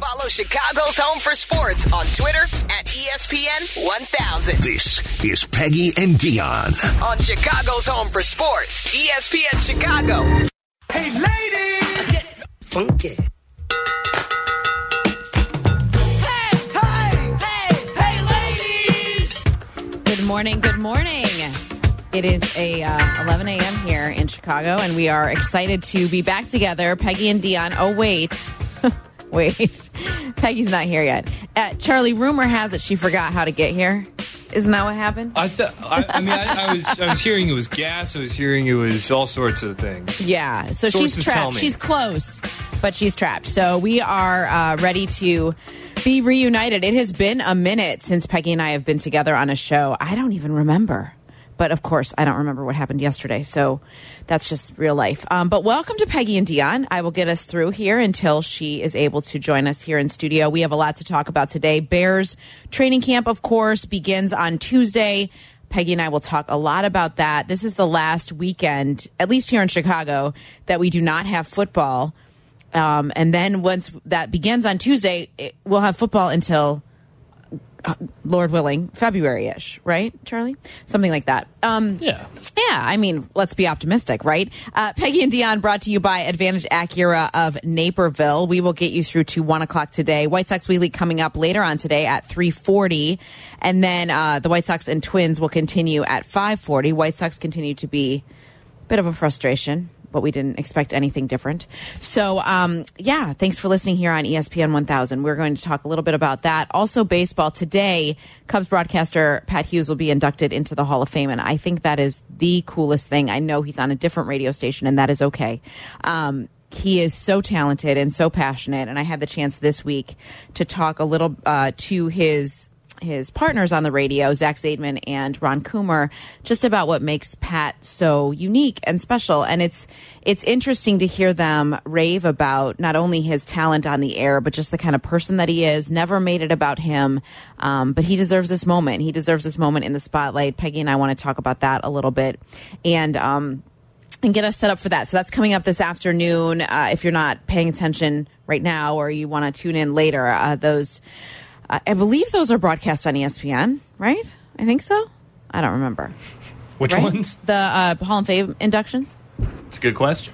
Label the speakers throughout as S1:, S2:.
S1: Follow Chicago's Home for Sports on Twitter at E ESPN 1000.
S2: This is Peggy and Dion.
S1: On Chicago's Home for Sports, E ESPN Chicago.
S3: Hey, ladies! Get funky. Hey, hey, hey, hey, ladies!
S4: Good morning. Good morning. It is a uh, 11 a.m. here in Chicago, and we are excited to be back together. Peggy and Dion. Oh wait, wait. Peggy's not here yet. Uh, Charlie, rumor has it she forgot how to get here. Isn't that what happened?
S5: I, th- I, I mean, I, I was I was hearing it was gas. I was hearing it was all sorts of things.
S4: Yeah. So
S5: Sources
S4: she's
S5: tell
S4: trapped.
S5: me.
S4: She's close, but she's trapped. So we are uh, ready to be reunited. It has been a minute since Peggy and I have been together on a show. I don't even remember. But of course, I don't remember what happened yesterday. So that's just real life. Um, but welcome to Peggy and Dion. I will get us through here until she is able to join us here in studio. We have a lot to talk about today. Bears training camp, of course, begins on Tuesday. Peggy and I will talk a lot about that. This is the last weekend, at least here in Chicago, that we do not have football. Um, and then once that begins on Tuesday, it, we'll have football until, uh, Lord willing, February ish, right, Charlie? Something like that. Um,
S5: Yeah.
S4: yeah, I mean, let's be optimistic, right? Uh, Peggy and Dion brought to you by Advantage Acura of Naperville. We will get you through to one o'clock today. White Sox Wheelie coming up later on today at three forty, and then uh, the White Sox and Twins will continue at five forty. White Sox continue to be a bit of a frustration, but we didn't expect anything different. So, um, yeah, thanks for listening here on E ESPN 1000. We're going to talk a little bit about that. Also, baseball today, Cubs broadcaster Pat Hughes will be inducted into the Hall of Fame, and I think that is the coolest thing. I know he's on a different radio station, and that is okay. Um, he is so talented and so passionate, and I had the chance this week to talk a little uh, to his his partners on the radio, Zach Zaidman and Ron Coomer, just about what makes Pat so unique and special. And it's it's interesting to hear them rave about not only his talent on the air, but just the kind of person that he is. Never made it about him, um, but he deserves this moment. He deserves this moment in the spotlight. Peggy and I want to talk about that a little bit, and. Um, and get us set up for that. So that's coming up this afternoon. Uh, if you're not paying attention right now or you want to tune in later, uh, those, uh, I believe those are broadcast on E ESPN, right? I think so. I don't remember.
S5: Which
S4: Right?
S5: ones?
S4: The uh, Hall of Fame inductions.
S5: It's a good question.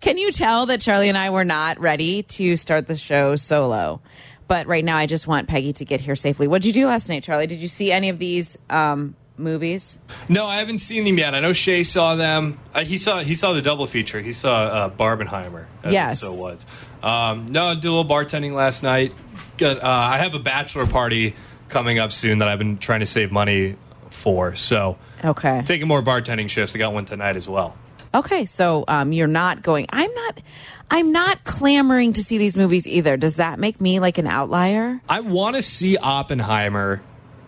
S4: Can you tell that Charlie and I were not ready to start the show solo? But right now, I just want Peggy to get here safely. What did you do last night, Charlie? Did you see any of these um, movies?
S5: No, I haven't seen them yet. I know Shay saw them. Uh, he saw he saw the double feature. He saw uh, Barbenheimer. as it
S4: Yes.
S5: So was. Um, no, I did a little bartending last night. Got, uh, I have a bachelor party coming up soon that I've been trying to save money for. So
S4: Okay.
S5: taking more bartending shifts. I got one tonight as well.
S4: Okay, so um, you're not going. I'm not. I'm not clamoring to see these movies either. Does that make me like an outlier?
S5: I want to see Oppenheimer,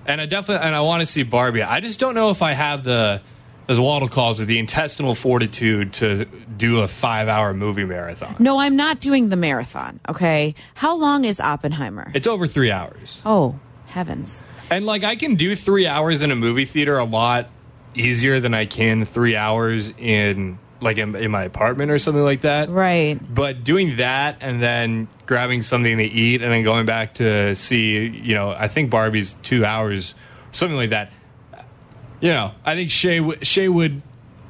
S5: and I definitely and I want to see Barbie. I just don't know if I have the, as Waddle calls it, the intestinal fortitude to do a five-hour movie marathon.
S4: No, I'm not doing the marathon. Okay, how long is Oppenheimer?
S5: It's over three hours,
S4: Oh heavens!
S5: and like I can do three hours in a movie theater a lot easier than I can three hours in like in, in my apartment or something like that.
S4: Right.
S5: But doing that and then grabbing something to eat and then going back to see, you know, I think Barbie's two hours, something like that. You know, I think Shay w- Shay would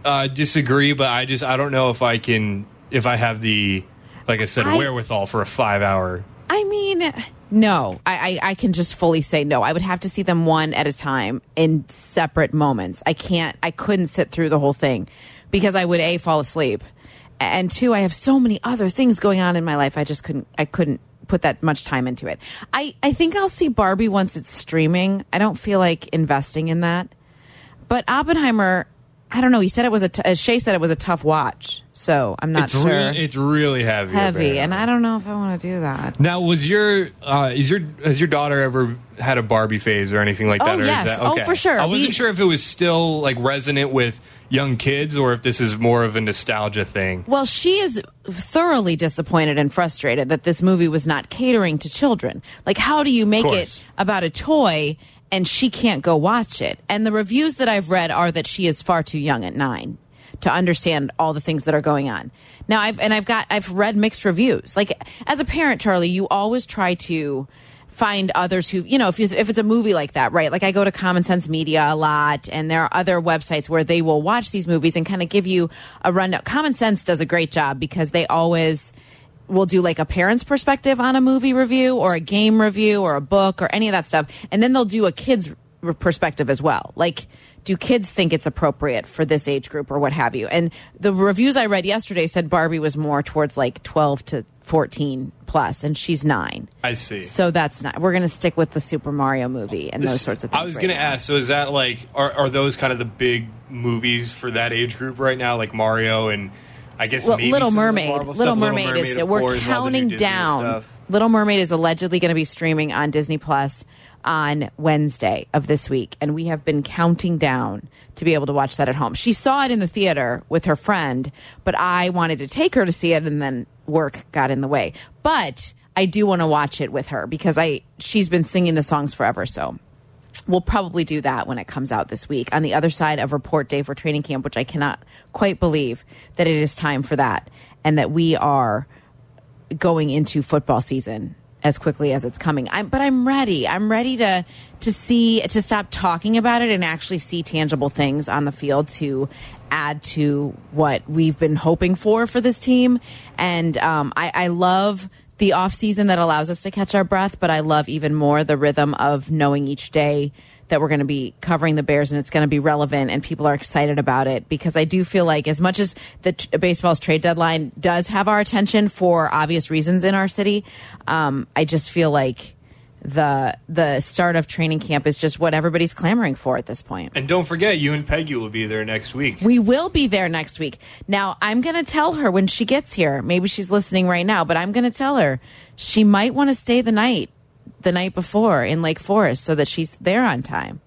S5: uh, disagree, but I just I don't know if I can if I have the like I said
S4: I-
S5: wherewithal for a five hour.
S4: I mean, no. I, I I can just fully say no. I would have to see them one at a time in separate moments. I can't. I couldn't sit through the whole thing because I would a fall asleep, and two, I have so many other things going on in my life. I just couldn't. I couldn't put that much time into it. I I think I'll see Barbie once it's streaming. I don't feel like investing in that. But Oppenheimer, I don't know. He said it was a. T- uh, Shay said it was a tough watch, so I'm not
S5: It's
S4: sure.
S5: really it's really heavy
S4: heavy, and I don't know if I want to do that.
S5: Now, was your uh, is your has your daughter ever had a Barbie phase or anything like
S4: Oh,
S5: that? or is
S4: yes.
S5: that-
S4: Oh, for sure.
S5: I wasn't
S4: We-
S5: sure if it was still like resonant with young kids or if this is more of a nostalgia thing.
S4: Well, she is thoroughly disappointed and frustrated that this movie was not catering to children. Like, how do you make it
S5: course.
S4: about a toy and she can't go watch it? And the reviews that I've read are that she is far too young at nine to understand all the things that are going on. Now I've and I've got I've read mixed reviews. Like as a parent, Charlie, you always try to find others who you know if, you, if it's a movie like that right like i go to common sense media a lot and there are other websites where they will watch these movies and kind of give you a rundown common sense does a great job because they always will do like a parent's perspective on a movie review or a game review or a book or any of that stuff and then they'll do a kids r- perspective as well like do kids think it's appropriate for this age group or what have you and the reviews i read yesterday said barbie was more towards like 12 to 14 plus and she's 9
S5: I see.
S4: so that's not we're going to stick with the super mario movie and those sorts of things
S5: I was
S4: right
S5: going to
S4: now.
S5: ask. So is that like are are those kind of the big movies for that age group right now, like Mario and I guess
S4: well,
S5: maybe
S4: Little
S5: some of the
S4: Mermaid.
S5: Marvel
S4: Little,
S5: stuff.
S4: Mermaid is
S5: of
S4: we're
S5: course, and all the new
S4: counting
S5: Disney
S4: down.
S5: stuff.
S4: Little Mermaid is allegedly going to be streaming on Disney Plus on Wednesday of this week, and we have been counting down to be able to watch that at home. She saw it in the theater with her friend, but I wanted to take her to see it, and then work got in the way. But I do want to watch it with her because I she's been singing the songs forever, so We'll probably do that when it comes out this week on the other side of report day for training camp, which I cannot quite believe that it is time for that and that we are going into football season as quickly as it's coming. I'm, but I'm ready. I'm ready to to see to stop talking about it and actually see tangible things on the field to add to what we've been hoping for for this team. And um, I, I love the off season that allows us to catch our breath, but I love even more the rhythm of knowing each day that we're going to be covering the Bears and it's going to be relevant and people are excited about it because I do feel like as much as the t- baseball's trade deadline does have our attention for obvious reasons in our city, um, I just feel like the the start of training camp is just what everybody's clamoring for at this point.
S5: And don't forget, you and Peggy will be there next week.
S4: We will be there next week. Now, I'm going to tell her when she gets here. Maybe she's listening right now, but I'm going to tell her she might want to stay the night the night before in Lake Forest so that she's there on time.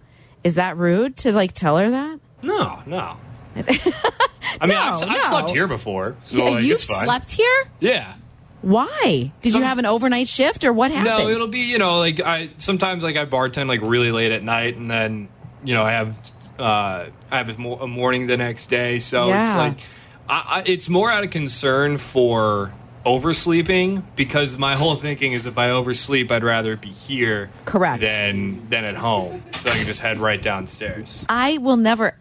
S4: Is that rude to like tell her that?
S5: no, no. I mean, I've, I've
S4: no.
S5: slept here before, so like,
S4: You've
S5: Oh, it's fine.
S4: slept here?
S5: Yeah.
S4: Why? Did
S5: Some-
S4: you have an overnight shift or what happened?
S5: No, it'll be you know like I sometimes like I bartend like really late at night, and then you know I have uh, I have a, mo- a morning the next day, so
S4: Yeah.
S5: it's like I, I, it's more out of concern for oversleeping because my whole thinking is if I oversleep, I'd rather be here
S4: Correct.
S5: than than at home, so I can just head right downstairs.
S4: I will never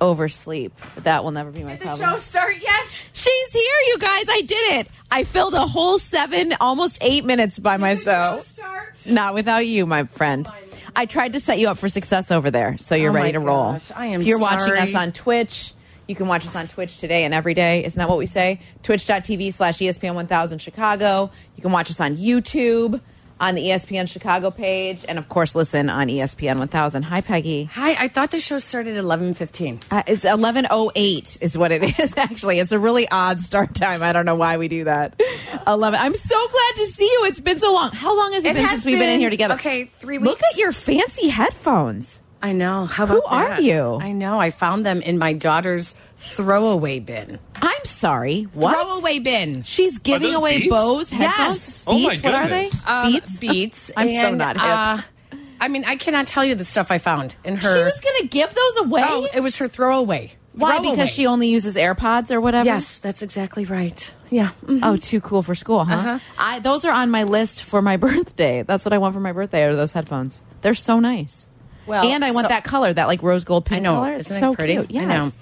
S4: oversleep. That will never be my
S6: the
S4: problem.
S6: show start yet?
S4: She's here, you guys. I did it. I filled a whole seven, almost eight minutes by myself.
S6: The show start?
S4: Not without you, my friend. I tried to set you up for success over there, so you're
S6: Oh
S4: ready
S6: my
S4: to roll.
S6: gosh, I am
S4: If you're watching
S6: sorry.
S4: us on Twitch. You can watch us on Twitch today and every day. Isn't that what we say? Twitch.tv slash E ESPN 1000 Chicago. You can watch us on YouTube, on the E ESPN Chicago page, and of course, listen on E ESPN 1000. Hi, Peggy.
S6: Hi, I thought the show started at 11:15.
S4: Uh, it's 1108 is what it is, actually. It's a really odd start time. I don't know why we do that. 11. I'm so glad to see you. It's been so long. How long has it,
S6: It
S4: been
S6: has
S4: since we've been in
S6: been-
S4: here together?
S6: okay, three
S4: Look
S6: weeks.
S4: at your fancy headphones.
S6: I know. How about
S4: Who are
S6: that?
S4: you?
S6: I know. I found them in my daughter's throwaway bin.
S4: I'm sorry. What?
S6: Throwaway bin.
S4: She's
S5: Are
S4: giving
S5: those
S4: away
S5: Beats?
S4: Bose headphones.
S6: Yes.
S5: Oh my
S4: Beats, what are they?
S5: goodness.
S6: Um,
S4: Beats?
S6: Beats.
S4: I'm so
S6: and,
S4: not hip.
S6: Uh, I mean, I cannot tell you the stuff I found in her.
S4: She was going to give those away?
S6: Oh, it was her throwaway.
S4: Why?
S6: Throwaway.
S4: Because she only uses AirPods or whatever?
S6: Yes, that's exactly right. Yeah. Mm.
S4: Oh, too cool for school, huh?
S6: Uh-huh.
S4: I those are on my list for my birthday. That's what I want for my birthday. Are those headphones? They're so nice.
S6: Well,
S4: and I want
S6: so-
S4: that color, that like rose gold
S6: I
S4: pink
S6: know.
S4: color. It's
S6: Isn't
S4: so
S6: it pretty?
S4: cute. Yes.
S6: I know.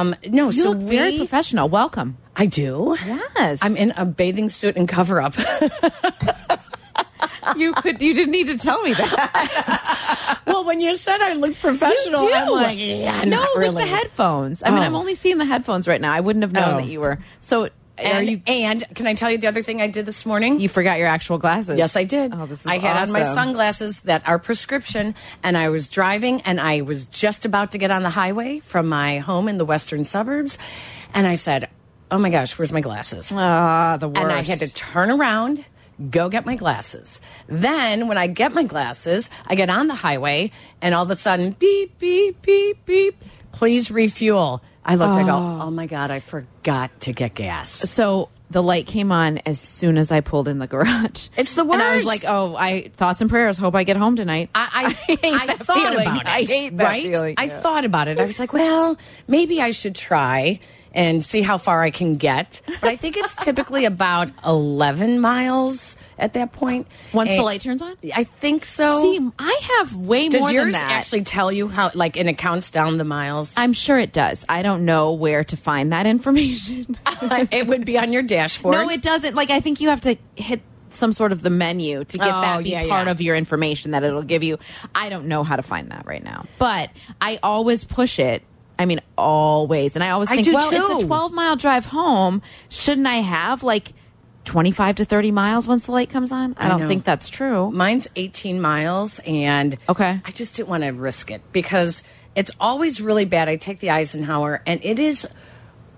S6: Um, no,
S4: You
S6: so
S4: look very
S6: we-
S4: professional. Welcome.
S6: I do.
S4: Yes.
S6: I'm in a bathing suit and cover up.
S4: you could. You didn't need to tell me that.
S6: well, when you said I look professional,
S4: You do.
S6: I'm like, yeah,
S4: no,
S6: not really.
S4: with the headphones. I mean,
S6: Oh.
S4: I'm only seeing the headphones right now. I wouldn't have known
S6: Oh.
S4: that you were. So, are
S6: And,
S4: you?
S6: and can I tell you the other thing I did this morning?
S4: You forgot your actual glasses.
S6: Yes, I did.
S4: Oh, this is
S6: I had on my
S4: awesome.
S6: sunglasses that are prescription, and I was driving, and I was just about to get on the highway from my home in the western suburbs, and I said, "Oh my gosh, where's my glasses?"
S4: Ah, the worst.
S6: and I had to turn around, go get my glasses. Then when I get my glasses, I get on the highway, and all of a sudden, beep, beep, beep, beep. "Oh Please refuel. I looked. I go. Oh my god! I forgot to get gas.
S4: So The light came on as soon as I pulled in the garage.
S6: It's the
S4: And I was
S6: worst.
S4: like, oh, I thoughts and prayers. Hope I get home tonight.
S6: I, I, I
S4: that
S6: thought
S4: feeling.
S6: about it.
S4: I hate that
S6: right?
S4: feeling,
S6: I
S4: yeah.
S6: thought about it. I was like, well, maybe I should try and see how far I can get. But I think it's typically about 11 miles at that point.
S4: Once the
S6: And-
S4: light turns on?
S6: I think so.
S4: See, I have way
S6: Does
S4: more
S6: yours
S4: than that.
S6: actually tell you how, like, and it counts down the miles?
S4: I'm sure it does. I don't know where to find that information.
S6: it would be on your dashboard.
S4: no, it doesn't. Like I think you have to hit some sort of the menu to get
S6: Oh,
S4: that be
S6: yeah,
S4: part
S6: yeah.
S4: of your information that it'll give you. I don't know how to find that right now, but I always push it. I mean, always, and I always
S6: I
S4: think,
S6: do
S4: well, it's a
S6: too.
S4: 12 mile drive home. Shouldn't I have like 25 to 30 miles once the light comes on? I,
S6: I
S4: don't
S6: know.
S4: think that's true.
S6: Mine's 18 miles, and
S4: Okay.
S6: I just didn't want to risk it because it's always really bad. I take the Eisenhower, and it is.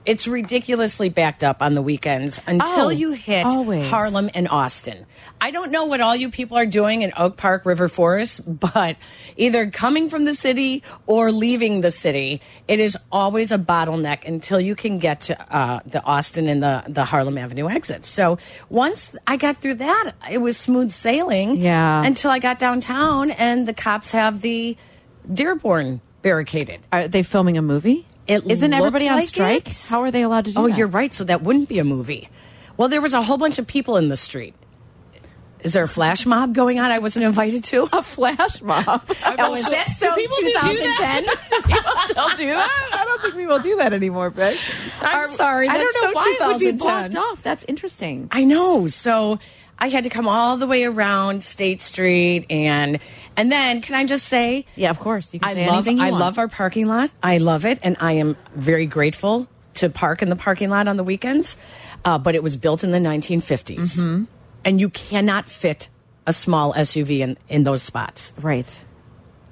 S6: It's ridiculously backed up on the weekends until
S4: Oh,
S6: you hit
S4: always.
S6: Harlem and Austin. I don't know what all you people are doing in Oak Park, River Forest, but either coming from the city or leaving the city, it is always a bottleneck until you can get to uh, the Austin and the, the Harlem Avenue exit. So once I got through that, it was smooth sailing
S4: Yeah.
S6: until I got downtown and the cops have the Dearborn barricaded.
S4: Are they filming a movie?
S6: It
S4: Isn't everybody
S6: looked
S4: on
S6: like
S4: strike?
S6: it.
S4: How are they allowed to do
S6: Oh,
S4: that?
S6: you're right. So that wouldn't be a movie. Well, there was a whole bunch of people in the street. Is there a flash mob going on? I wasn't invited to.
S4: a flash mob.
S6: Oh, is that so?
S4: people do that?
S6: 2010.
S4: people still do that? I don't think people do that anymore, Greg.
S6: I'm sorry,
S4: I
S6: that's
S4: don't know
S6: so
S4: why it would be
S6: 2010.
S4: blocked off. That's interesting.
S6: I know. So I had to come all the way around State Street and and then can I just say
S4: Yeah, of course. You can
S6: I
S4: say
S6: love
S4: anything you
S6: I
S4: want.
S6: love our parking lot. I love it, and I am very grateful to park in the parking lot on the weekends. Uh, but it was built in the 1950s,
S4: Mm-hmm.
S6: and you cannot fit a small SUV in in those spots.
S4: Right.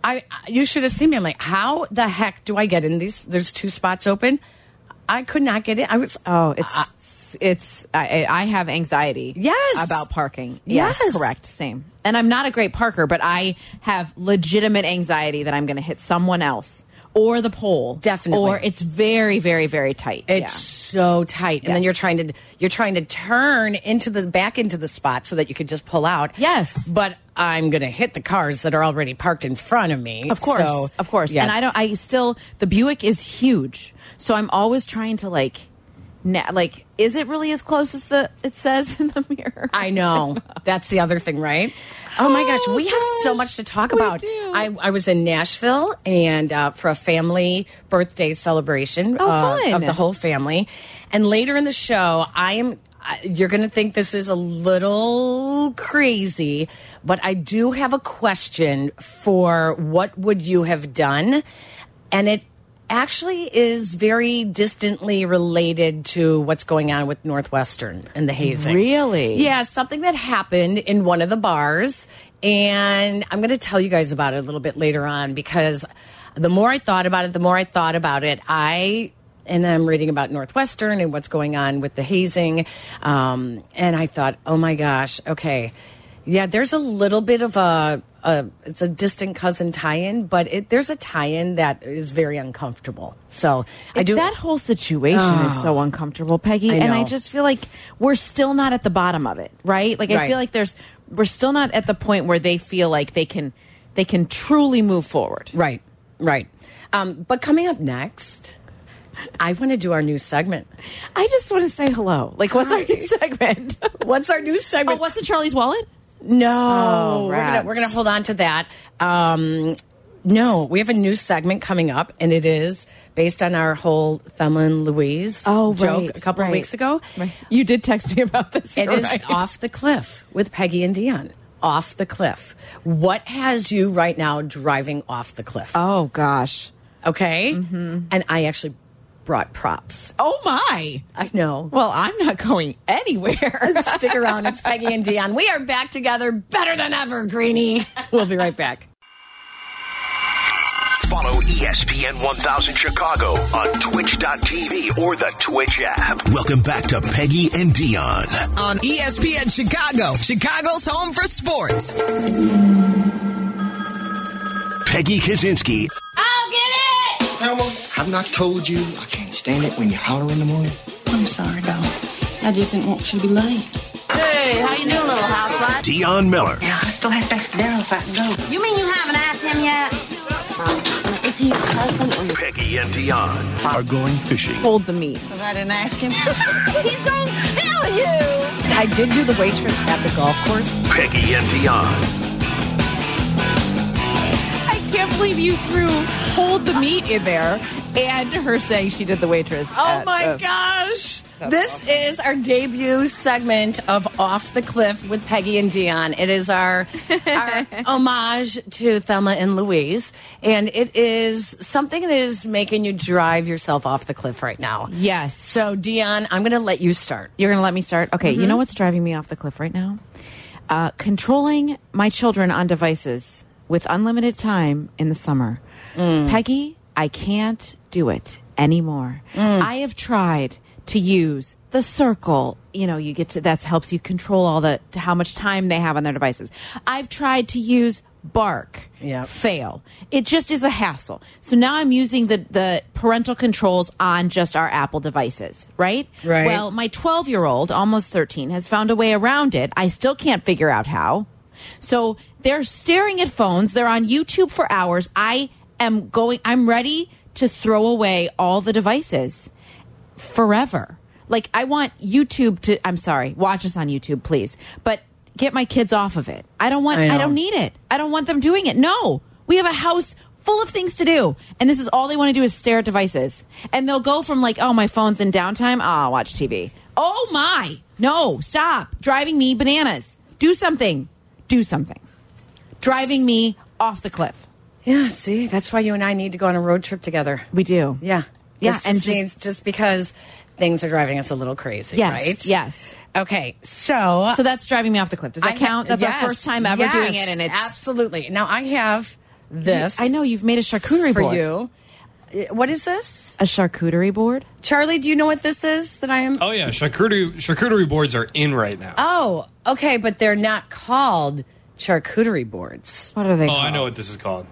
S6: I you should have seen me. I'm like, how the heck do I get in these? There's two spots open. I could not get in. I was
S4: Oh, it's it's I, I I have anxiety.
S6: Yes.
S4: about parking. Yes,
S6: Yes.
S4: correct, same. And I'm not a great parker, but I have legitimate anxiety that I'm going to hit someone else or the pole.
S6: Definitely.
S4: or it's very, very, very tight.
S6: It's
S4: Yeah.
S6: so tight, and then
S4: Yes.
S6: you're trying to you're trying to turn into the back into the spot so that you could just pull out.
S4: Yes.
S6: but I'm gonna hit the cars that are already parked in front of me.
S4: Of course,
S6: so-
S4: of course.
S6: Yeah.
S4: And I don't. I still the Buick is huge, so I'm always trying to like, na- like, is it really as close as the it says in the mirror?
S6: I know. That's the other thing, right? Oh my gosh,
S4: Oh,
S6: we have so
S4: gosh.
S6: much to talk
S4: We
S6: about.
S4: do.
S6: I, I was in Nashville and uh, for a family birthday celebration
S4: Oh,
S6: uh,
S4: fun.
S6: of the whole family. And later in the show, I am. I- You're going to think this is a little crazy, but I do have a question for what would you have done? And it actually is very distantly related to what's going on with Northwestern and the hazing.
S4: Really?
S6: Yeah, something that happened in one of the bars. And I'm going to tell you guys about it a little bit later on because the more I thought about it, the more I thought about it, I. And I'm reading about Northwestern and what's going on with the hazing. Um, and I thought, oh my gosh, okay. Yeah, there's a little bit of a, a it's a distant cousin tie in, but it, there's a tie in that is very uncomfortable. So I do.
S4: That whole situation is so uncomfortable, Peggy.
S6: I
S4: and Oh. I
S6: know.
S4: just feel like we're still not at the bottom of it, right? Like I
S6: Right.
S4: feel like there's we're still not at the point where they feel like they can they can truly move forward.
S6: Right, right. Um, but coming up next, I want to do our new segment.
S4: I just want to say hello. Like, what's our new segment?
S6: What's our new
S4: oh,
S6: segment?
S4: what's in Charlie's wallet?
S6: no,
S4: Oh,
S6: we're gonna
S4: rats.
S6: we're gonna hold on to that. Um, no, we have a new segment coming up, and it is based on our whole Thelma and Louise
S4: Oh,
S6: joke a couple of weeks ago.
S4: You did text me about this.
S6: It
S4: you're
S6: is
S4: right.
S6: off the cliff with Peggy and Dion. Off the cliff. What has you right now driving off the cliff?
S4: Oh Mm-hmm. gosh.
S6: okay, and I actually brought props.
S4: Oh my.
S6: I know.
S4: Well, I'm not going anywhere.
S6: Stick around. It's Peggy and Dion. We are back together better than ever, Greenie. We'll be right back.
S2: Follow E ESPN 1000 Chicago on twitch.tv or the Twitch app. Welcome back to Peggy and Dion.
S7: on ESPN Chicago, Chicago's home for sports.
S2: Peggy Kaczynski
S8: Elmo, I've not told you I can't stand it when you holler in the morning.
S9: I'm sorry, Dom.
S8: I just didn't want you to be late.
S9: Hey, how you doing, little housewife?
S2: Dion Miller,
S8: Yeah, I still have to ask Daryl if I can go.
S9: You mean you haven't asked him yet? Is he your husband or your...
S2: Peggy, and Dion are going fishing.
S4: Hold the meat.
S8: Because I didn't ask him.
S9: He's gonna kill you!
S6: I did do the waitress at the golf course.
S2: Peggy and Dion.
S4: I can't believe you threw hold the meat in there and her saying she did the waitress.
S6: Oh
S4: at,
S6: my
S4: uh,
S6: gosh. This is our debut segment of Off the Cliff with Peggy and Dion. It is our, our homage to Thelma and Louise. And it is something that is making you drive yourself off the cliff right now.
S4: Yes.
S6: So, Dion, I'm going to let you start.
S4: You're going to let me start? Okay. You know what's driving me off the cliff right now? Uh, controlling my children on devices with unlimited time in the summer. Peggy, I can't do it anymore. I have tried to use the circle. You know, you get to that helps you control all the to how much time they have on their devices. I've tried to use bark
S6: Yep.
S4: fail. It just is a hassle. So now I'm using the the parental controls on just our Apple devices, right?
S6: Right.
S4: Well, my 12 year old, almost 13, has found a way around it. I still can't figure out how. So they're staring at phones. They're on YouTube for hours. I am going, I'm ready to throw away all the devices forever. Like, I want YouTube to, I'm sorry, watch us on YouTube, please, but get my kids off of it. I don't want,
S6: I
S4: I,
S6: know.
S4: don't need it. I don't want them doing it. No, we have a house full of things to do. And this is all they want to do is stare at devices. And they'll go from like, oh, my phone's in downtime. Ah, watch TV. Oh my. No, stop driving me bananas. Do something. Do something. Driving me off the cliff.
S6: Yeah, see, that's why you and I need to go on a road trip together.
S4: We do.
S6: Yeah.
S4: Yeah,
S6: This
S4: and
S6: just,
S4: just-
S6: means- just because things are driving us a little crazy,
S4: Yes.
S6: right?
S4: Yes.
S6: Okay. So,
S4: So that's driving me off the cliff. Does that
S6: I
S4: count?
S6: have-
S4: That's
S6: yes,
S4: our first time ever doing
S6: yes,
S4: it, and it's
S6: absolutely. Now I have this.
S4: I know you've made a charcuterie
S6: for
S4: board.
S6: you. Uh, What is this,
S4: A charcuterie board?
S6: Charlie? Do you know what this is that I am?
S5: Oh yeah, charcuterie charcuterie boards are in right now.
S6: Oh, okay, but they're not called charcuterie boards.
S4: What are they?
S5: oh, I
S4: called?
S5: know what this is called.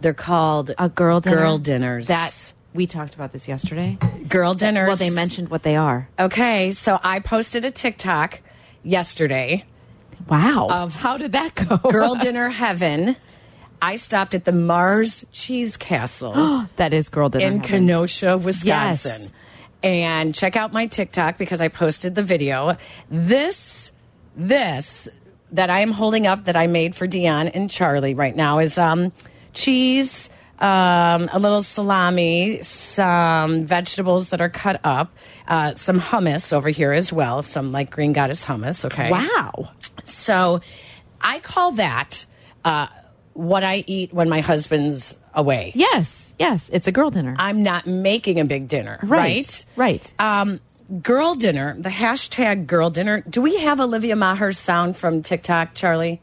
S6: They're called
S4: A girl dinner.
S6: girl dinners.
S4: That we talked about this yesterday.
S6: girl dinners.
S4: Well, they mentioned what they are.
S6: Oh, Okay, so I posted a TikTok yesterday.
S4: Wow. Of how did that go?
S6: Girl dinner heaven. I stopped at the Mars Cheese Castle.
S4: that is girl dinner.
S6: in
S4: heaven.
S6: Kenosha, Wisconsin.
S4: Yes.
S6: And check out my TikTok because I posted the video. This, this that I am holding up that I made for Dion and Charlie right now is um, cheese, um, a little salami, some vegetables that are cut up, uh, some hummus over here as well, some like Green Goddess hummus. Okay.
S4: Wow.
S6: So I call that uh, what I eat when my husband's away.
S4: Yes. Yes. It's a girl dinner.
S6: I'm not making a big dinner, Uh, right?
S4: Right, right.
S6: Um, girl dinner, the hashtag girl dinner. Do we have Olivia Maher's sound from TikTok, Charlie?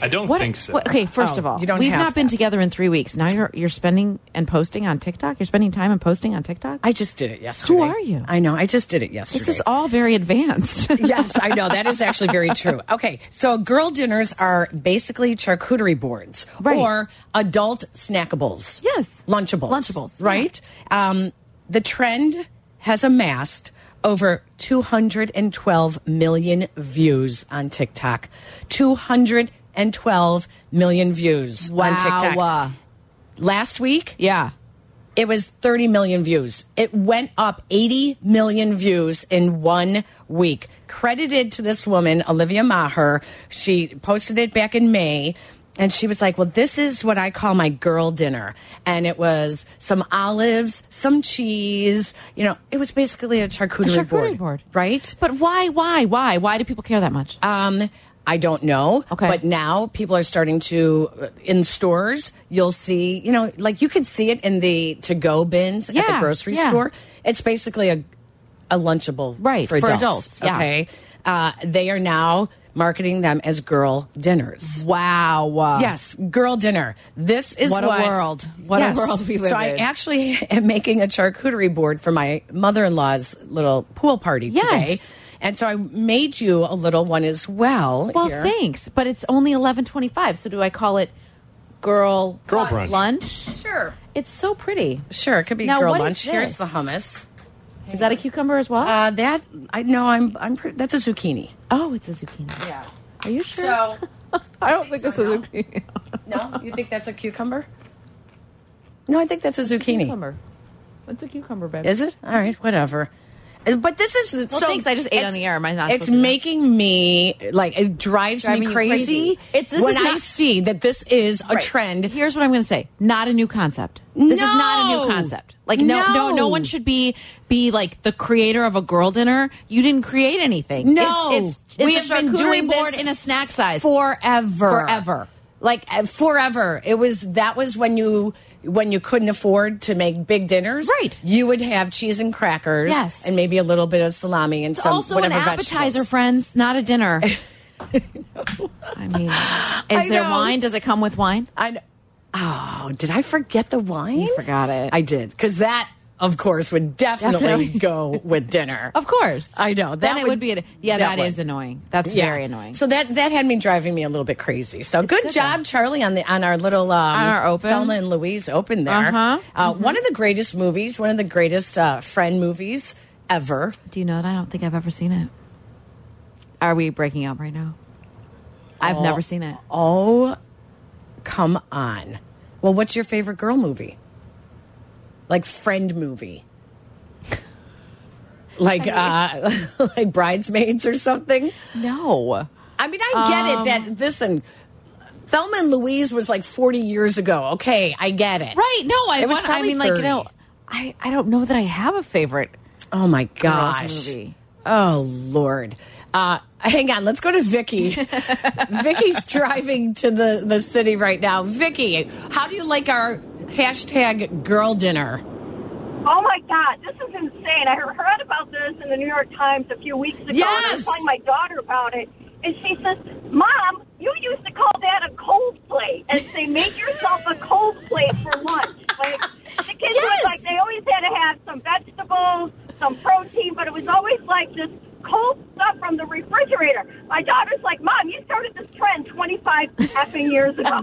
S5: I don't think so.
S4: what- okay, first
S6: Oh,
S4: of all,
S6: you don't
S4: we've
S6: have
S4: not been
S6: that.
S4: together in three weeks. Now you're you're spending and posting on TikTok. You're spending time and posting on TikTok.
S6: I just did it yesterday.
S4: are you?
S6: I know. I just did it yesterday.
S4: this is all very advanced.
S6: yes, I know. That is actually very true. Okay. So girl dinners are basically charcuterie boards
S4: Right.
S6: or adult snackables.
S4: Yes.
S6: Lunchables.
S4: Lunchables, yeah.
S6: Right? Um, the trend has amassed over 212 million views on TikTok. 212 million views on TikTok.
S4: Wow.
S6: Last week,
S4: Yeah.
S6: it was 30 million views. It went up 80 million views in one week. Credited to this woman, Olivia Maher. She posted it back in May. And she was like, Well, this is what I call my girl dinner. And it was some olives, some cheese. You know, it was basically a charcuterie,
S4: charcuterie board.
S6: Right?
S4: But why? Why? Why? Why do people care that much?
S6: Um, I don't know.
S4: Okay.
S6: But now people are starting to, uh, in stores, you'll see, you know, like you could see it in the to go bins at the
S4: Yeah,
S6: grocery
S4: yeah.
S6: store. It's basically a, a Lunchable
S4: Right,
S6: for
S4: for
S6: adults.
S4: adults, yeah.
S6: Okay. Uh, they are now marketing them as girl dinners.
S4: wow.
S6: Yes, girl dinner. This is
S4: What a world. What a world we live
S6: So I
S4: in.
S6: actually am making a charcuterie board for my mother-in-law's little pool party
S4: Yes.
S6: today. And so I made you a little one as well.
S4: Well,
S6: here.
S4: thanks, but it's only eleven twenty-five. So do I call it girl
S5: Girl brunch.
S4: lunch? Sure. It's so pretty.
S6: Sure, it could be
S4: Now,
S6: girl
S4: what is
S6: lunch. Here's
S4: this?
S6: the hummus.
S4: Is that a cucumber as well?
S6: Uh, that I no, I'm I'm pre- that's a zucchini.
S4: oh, it's a zucchini.
S6: Yeah.
S4: Are you sure?
S6: So
S4: I don't think it's a
S6: so, no.
S4: zucchini.
S6: no, you think that's a cucumber? No, I think that's a zucchini.
S4: Cucumber. It's a cucumber, baby.
S6: Is it? All right, whatever. Uh, But this is well, so.
S4: thanks, I just ate
S6: it's-
S4: on the air. Am I not
S6: It's
S4: supposed to know?
S6: making me like it drives
S4: Driving
S6: me
S4: you
S6: crazy,
S4: crazy. It's- this
S6: when
S4: is
S6: I
S4: not-
S6: see that this is a
S4: Right.
S6: trend.
S4: Here's what I'm going to say: not a new concept. This is not a
S6: No!
S4: new concept. Like no, no,
S6: No.
S4: no, one should be be like the creator of a girl dinner. You didn't create anything.
S6: No.
S4: it's, it's, it's
S6: We
S4: a
S6: have been
S4: charcuterie
S6: doing
S4: board
S6: this
S4: in a snack size.
S6: forever
S4: Forever.
S6: like uh, forever it was that was when you when you couldn't afford to make big dinners
S4: Right.
S6: you would have cheese and crackers
S4: Yes.
S6: and maybe a little bit of salami and
S4: It's
S6: some
S4: also an
S6: whatever
S4: appetizer,
S6: vegetables.
S4: friends, not a dinner. I mean, is there
S6: know.
S4: wine? Does it come with wine?
S6: I kn- oh did i forget the wine
S4: You forgot it.
S6: i did because that of course would definitely,
S4: Definitely.
S6: go with dinner
S4: Of course,
S6: I know.
S4: then
S6: That
S4: it
S6: would-
S4: would be. A, yeah,
S6: that
S4: that
S6: would.
S4: is annoying. That's
S6: Yeah.
S4: very annoying.
S6: So that that had me driving me a little bit crazy. So good,
S4: good,
S6: job,
S4: though.
S6: Charlie, on the on our little um,
S4: On our open.
S6: Thelma and Louise open there.
S4: Uh-huh.
S6: Uh, One of the greatest movies, one of the greatest uh, friend movies ever.
S4: Do you know it? I don't think I've ever seen it. Are we breaking up right now? I've never seen it.
S6: Oh, come on. Well, what's your favorite girl movie? Like friend movie. like uh, like bridesmaids or something.
S4: No.
S6: I mean, I get
S4: Um,
S6: it that listen, Thelma and Louise was like 40 years ago. Okay, I get it.
S4: Right? No, I
S6: It was
S4: want- I
S6: probably
S4: mean, like you
S6: 30.
S4: know, I I don't know that I have a favorite
S6: Oh my
S4: girls
S6: gosh.
S4: movie.
S6: Oh Lord. Uh, hang on, let's go to Vicky. Vicky's driving to the, the city right now. Vicky, how do you like our hashtag girl dinner?
S10: Oh my God, this is insane. I heard about this in the New York Times a few weeks ago. and I
S6: Yes.
S10: was telling my daughter about it, and she says, Mom, you used to call that a cold plate and say, make yourself a cold plate for lunch. Like, the kids
S6: Yes.
S10: was like, they always had to have some vegetables, some protein, but it was always like this cold stuff from the refrigerator. My daughter's like, Mom, you started this trend 25 effing years ago.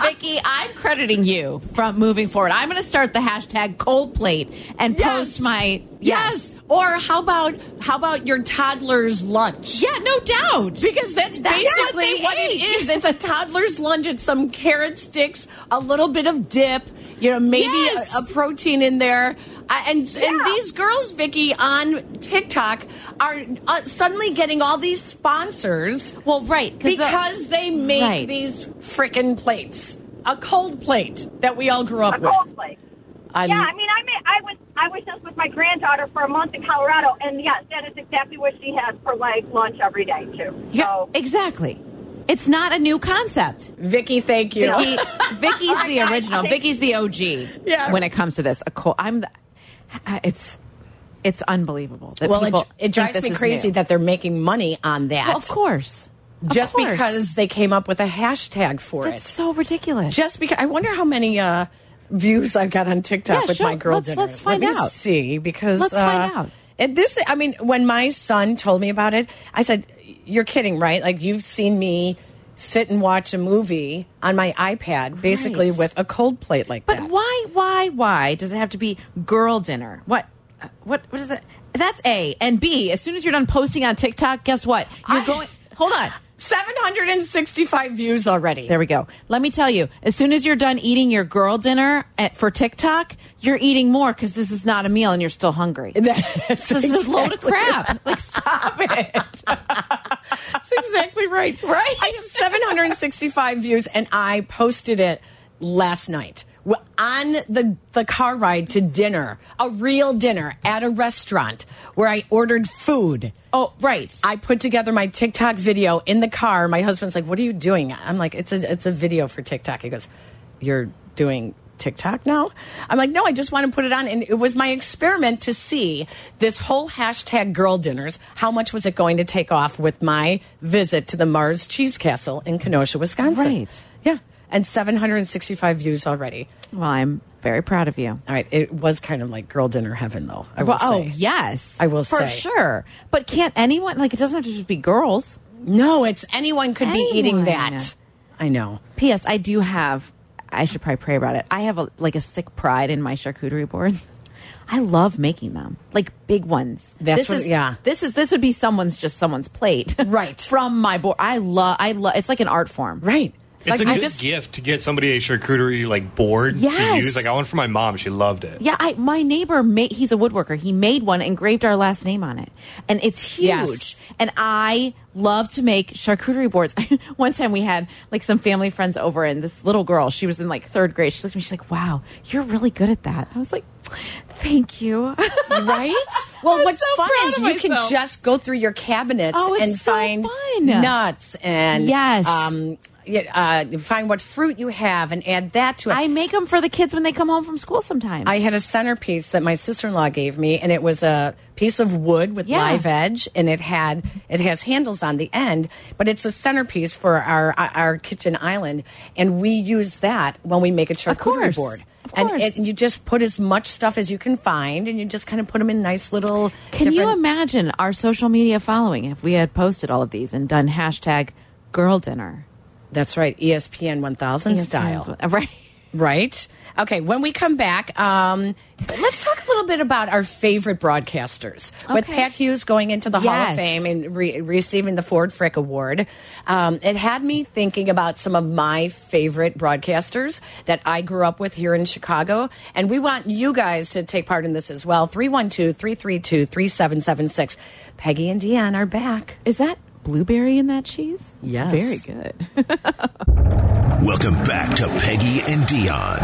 S4: Vicky, I'm crediting you from moving forward. I'm going to start the hashtag cold plate and post my
S6: yes. Or how about how about your toddler's lunch?
S4: Yeah, no doubt.
S6: Because that's
S4: That's what
S6: basically
S4: they
S6: what, it
S4: ate.
S6: is. It's a toddler's lunch. It's some carrot sticks, a little bit of dip, you know, maybe
S4: Yes.
S6: a, a protein in there. Uh, and and these girls, Vicky, on TikTok are uh, suddenly getting all these sponsors
S4: Well, right, 'cause the-
S6: because they make
S4: Right.
S6: these freaking plates. A cold plate that we all grew up
S10: a
S6: with.
S10: cold plate.
S6: I-
S10: yeah, I mean, I mean, I was I was just with my granddaughter for a month in Colorado, and yes, that is exactly what she has for like lunch every day too.
S4: Yeah,
S11: Oh.
S10: so,
S4: exactly. It's not a new concept.
S6: Vicky, thank you.
S4: Vicky, Vicky's the
S10: I- I
S4: original.
S10: think-
S4: Vicky's the OG.
S6: Yeah.
S4: When it comes to this, a cold. I'm. The, I- it's. It's unbelievable. That
S6: well,
S4: people
S6: it, it
S4: think
S6: drives
S4: this
S6: me
S4: is
S6: crazy
S4: new.
S6: that they're making money on that.
S4: Well, of course. Of
S6: just
S4: course.
S6: because they came up with a hashtag for
S4: that's
S6: it.
S4: so ridiculous.
S6: just because I wonder how many uh, views I've got on TikTok
S4: Yeah,
S6: with
S4: sure.
S6: my girl
S4: Let's-
S6: dinner.
S4: let's find
S6: Let me
S4: out.
S6: see because
S4: Let's
S6: uh,
S4: find out.
S6: And this, I mean, when my son told me about it, I said, "You're kidding, right? Like you've seen me." Sit and watch a movie on my iPad, basically
S4: Right.
S6: with a cold plate like
S4: But
S6: that.
S4: why, why, why does it have to be girl dinner? What, uh, what, what is that? That's A and B. As soon as you're done posting on TikTok, guess what? You're
S6: I-
S4: going. Hold on.
S6: 765 views already.
S4: There we go. Let me tell you. As soon as you're done eating your girl dinner at, for TikTok, you're eating more because this is not a meal and you're still hungry.
S6: That's
S4: this is a load of
S6: exactly-
S4: crap. Like stop it.
S6: That's exactly right. Right. I have 765 views, and I posted it last night W- on the the car ride to dinner, a real dinner at a restaurant where I ordered food.
S4: Oh, right.
S6: I put together my TikTok video in the car. My husband's like, "What are you doing?" I'm like, "It's a it's a video for TikTok." He goes, "You're doing TikTok now?" I'm like, "No, I just want to put it on." And it was my experiment to see this whole hashtag girl dinners. How much was it going to take off with my visit to the Mars Cheese Castle in Kenosha, Wisconsin?
S4: Right.
S6: Yeah, and 765 views already.
S4: well, I'm very proud of you.
S6: All right, it was kind of like girl dinner heaven, though. I will
S4: Well, oh
S6: say.
S4: yes,
S6: I will
S4: for
S6: say.
S4: sure. But can't anyone like it? Doesn't have to just be girls.
S6: No, it's anyone could be eating
S4: Anyone.
S6: that. I know.
S4: P.S. I do have. I should probably pray about it. I have a, like a sick pride in my charcuterie boards. I love making them, like big ones.
S6: That's
S4: this
S6: what-
S4: is-
S6: yeah.
S4: This is this would be someone's just someone's plate,
S6: Right.
S4: From my board, I love. I love. It's like an art form,
S6: Right.
S5: It's a
S6: I
S5: good
S6: just-
S5: gift to get somebody a charcuterie like board to
S4: Yes.
S5: use. Like I one for my mom; she loved it.
S4: Yeah, I my neighbor made he's a woodworker. He made one engraved our last name on it. And it's huge.
S6: Yes.
S4: And I love to make charcuterie boards. one time we had like some family friends over and this little girl, she was in like 3rd grade. She looked at me she's like, "Wow, you're really good at that." I was like, "Thank you."
S6: right? Well,
S4: I'm
S6: what's
S4: so
S6: fun
S4: proud
S6: is
S4: of
S6: you can
S4: myself.
S6: just go through your cabinets
S4: Oh, it's
S6: and
S4: so
S6: find
S4: fun.
S6: nuts and
S4: Yes.
S6: um, yeah, uh, find what fruit you have and add that to it.
S4: I make them for the kids when they come home from school sometimes.
S6: I had a centerpiece that my sister in law gave me, and it was a piece of wood with
S4: Yeah.
S6: live edge, and it had it has handles on the end, but it's a centerpiece for our our kitchen island, and we use that when we make a charcuterie
S4: course.
S6: board.
S4: Of
S6: And,
S4: course.
S6: it, you just put as much stuff as you can find, and you just kind of put them in nice little.
S4: Can you
S6: different-
S4: imagine our social media following if we had posted all of these and done hashtag girl dinner
S6: That's right, E ESPN
S4: E
S6: 1000 style.
S4: Right.
S6: Right. Okay. When we come back, um, let's talk a little bit about our favorite broadcasters. With
S4: Okay.
S6: Pat Hughes going into the Hall of
S4: Yes.
S6: Fame and re receiving the Ford Frick Award, um, it had me thinking about some of my favorite broadcasters that I grew up with here in Chicago. And we want you guys to take part in this as well. 312 332 3776. Peggy and Deanne are back.
S4: Is that blueberry in that cheese? It's
S6: Yes.
S4: very good.
S2: Welcome back to Peggy and Dion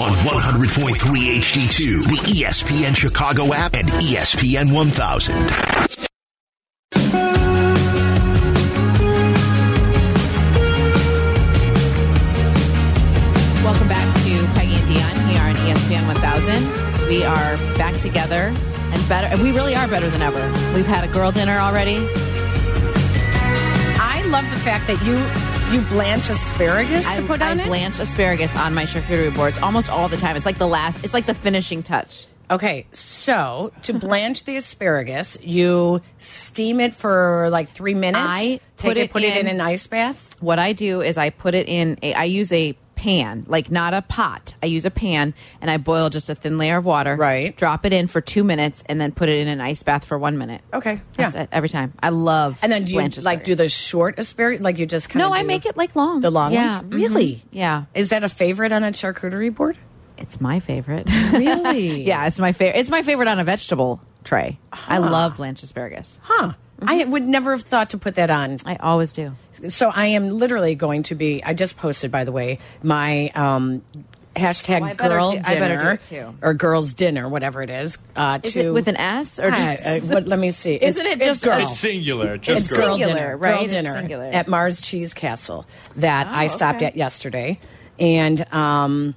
S2: on 100.3 HD2, the E ESPN Chicago app, and E ESPN 1000.
S4: Welcome back to Peggy and Dion. We are on E ESPN 1000. We are back together and better. And we really are better than ever. We've had a girl dinner already.
S6: I love the fact that you you blanch asparagus
S4: I,
S6: to put
S4: I
S6: on it.
S4: blanch asparagus on my charcuterie boards almost all the time. It's like the last. It's like the finishing touch.
S6: Okay, so to blanch the asparagus, you steam it for like three minutes.
S4: I
S6: take
S4: put
S6: it,
S4: it
S6: put it in
S4: in-
S6: an ice bath.
S4: What I do is I put it in. A, I use a pan, like not a pot. I use a pan and I boil just a thin layer of water.
S6: Right.
S4: Drop it in for two minutes and then put it in an ice bath for one minute.
S6: Okay,
S4: That's
S6: yeah.
S4: it every time. I love.
S6: And then do you
S4: blanched
S6: like
S4: asparagus.
S6: do the short asparagus? Like you just kind of
S4: No, I make it, like, long.
S6: The long
S4: Yeah,
S6: ones,
S4: mhm.
S6: really?
S4: Yeah.
S6: Is that a favorite on a charcuterie board?
S4: It's my favorite.
S6: Really?
S4: yeah, it's my favorite. It's my favorite on a vegetable tray. I love blanched asparagus.
S6: Huh. I would never have thought to put that on.
S4: Mm-hmm. I always do.
S6: So I am literally going to be. I just posted, by the way, my um, hashtag
S4: Well, I better
S6: girl
S4: do-
S6: dinner
S4: I better do it, too.
S6: or girls dinner, whatever it is. Uh,
S4: Is
S6: to
S4: it with an S or
S6: I-
S4: just-
S6: I- what, let me see.
S4: Isn't it just
S6: girl?
S5: It's singular, just
S6: it's
S5: girl.
S6: girl
S4: Singular,
S6: dinner,
S4: right?
S6: Girl
S4: It's
S6: dinner
S4: singular. Oh,
S6: at Mars Cheese Castle that I stopped
S4: okay.
S6: at yesterday, and um,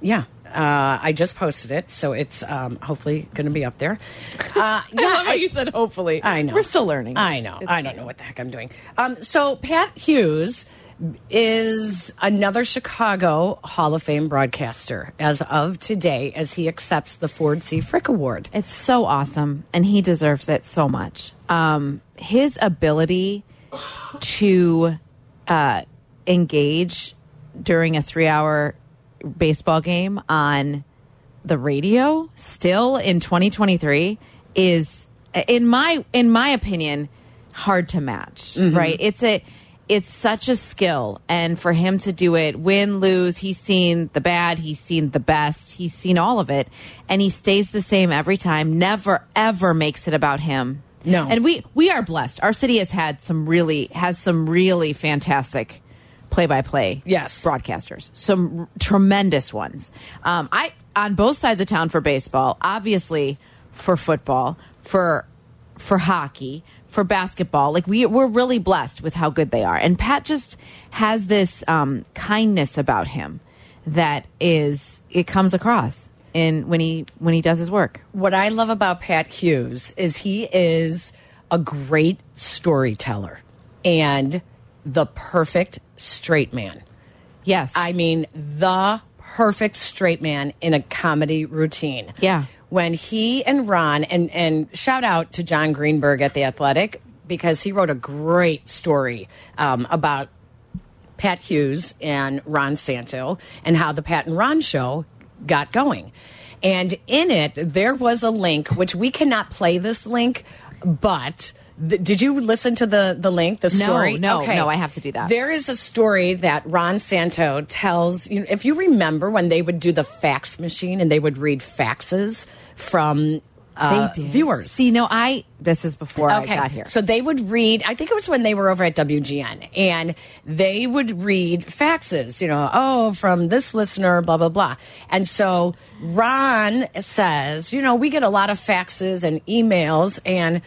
S6: yeah, uh, I just posted it, so it's um, hopefully going to be up there. Uh, yeah, I-
S4: said hopefully.
S6: I know.
S4: We're still learning.
S6: I know. I don't know what the heck I'm doing. Um, so Pat Hughes is another Chicago Hall of Fame broadcaster as of today, as he accepts the Ford C. Frick Award.
S4: It's so awesome, and he deserves it so much. Um, his ability to uh, engage during a three-hour baseball game on the radio, still in 2023, is in my in my opinion hard to match. Right? It's a it's such a skill, and for him to do it, win, lose, he's seen the bad, he's seen the best, he's seen all of it, and he stays the same every time. Never ever makes it about him.
S6: No.
S4: and we we are blessed. Our city has had some really has some really fantastic play by play
S6: Yes.
S4: broadcasters, some r- tremendous ones. Um, I on both sides of town for baseball, obviously for football, for for hockey, for basketball. Like we we're really blessed with how good they are, and Pat just has this um, kindness about him that is it comes across in when he when he does his work.
S6: What I love about Pat Hughes is he is a great storyteller and the perfect straight man.
S4: Yes,
S6: I mean, the perfect straight man in a comedy routine.
S4: Yeah.
S6: When he and Ron, and, and shout out to John Greenberg at The Athletic because he wrote a great story um, about Pat Hughes and Ron Santo and how the Pat and Ron show got going. And in it, there was a link, which we cannot play this link, but. th- Did you listen to the the link, the
S4: No,
S6: story?
S4: no, no, I have to do that.
S6: There is a story that Ron Santo tells. You know, if you remember when they would do the fax machine and they would read faxes from uh, viewers,
S4: See, no, I. This is before I got here.
S6: so they would read, I think it was when they were over at WGN, and they would read faxes, you know, oh, from this listener, blah, blah, blah. And so Ron says, you know, we get a lot of faxes and emails, and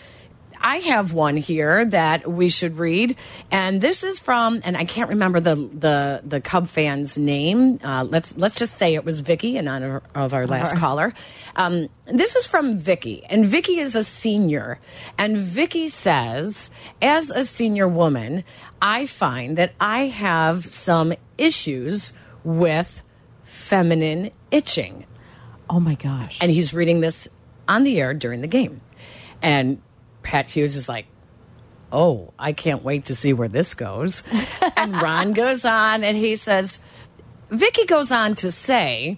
S6: I have one here that we should read. And this is from, and I can't remember the the, the Cub fan's name. Uh, let's let's just say it was Vicky in honor of our last caller. Um, this is from Vicky, and Vicky is a senior. And Vicky says, as a senior woman, I find that I have some issues with feminine itching
S4: oh my gosh.
S6: and he's reading this on the air during the game. And Pat Hughes is like, Oh, I can't wait to see where this goes. and Ron goes on and he says, Vicky goes on to say,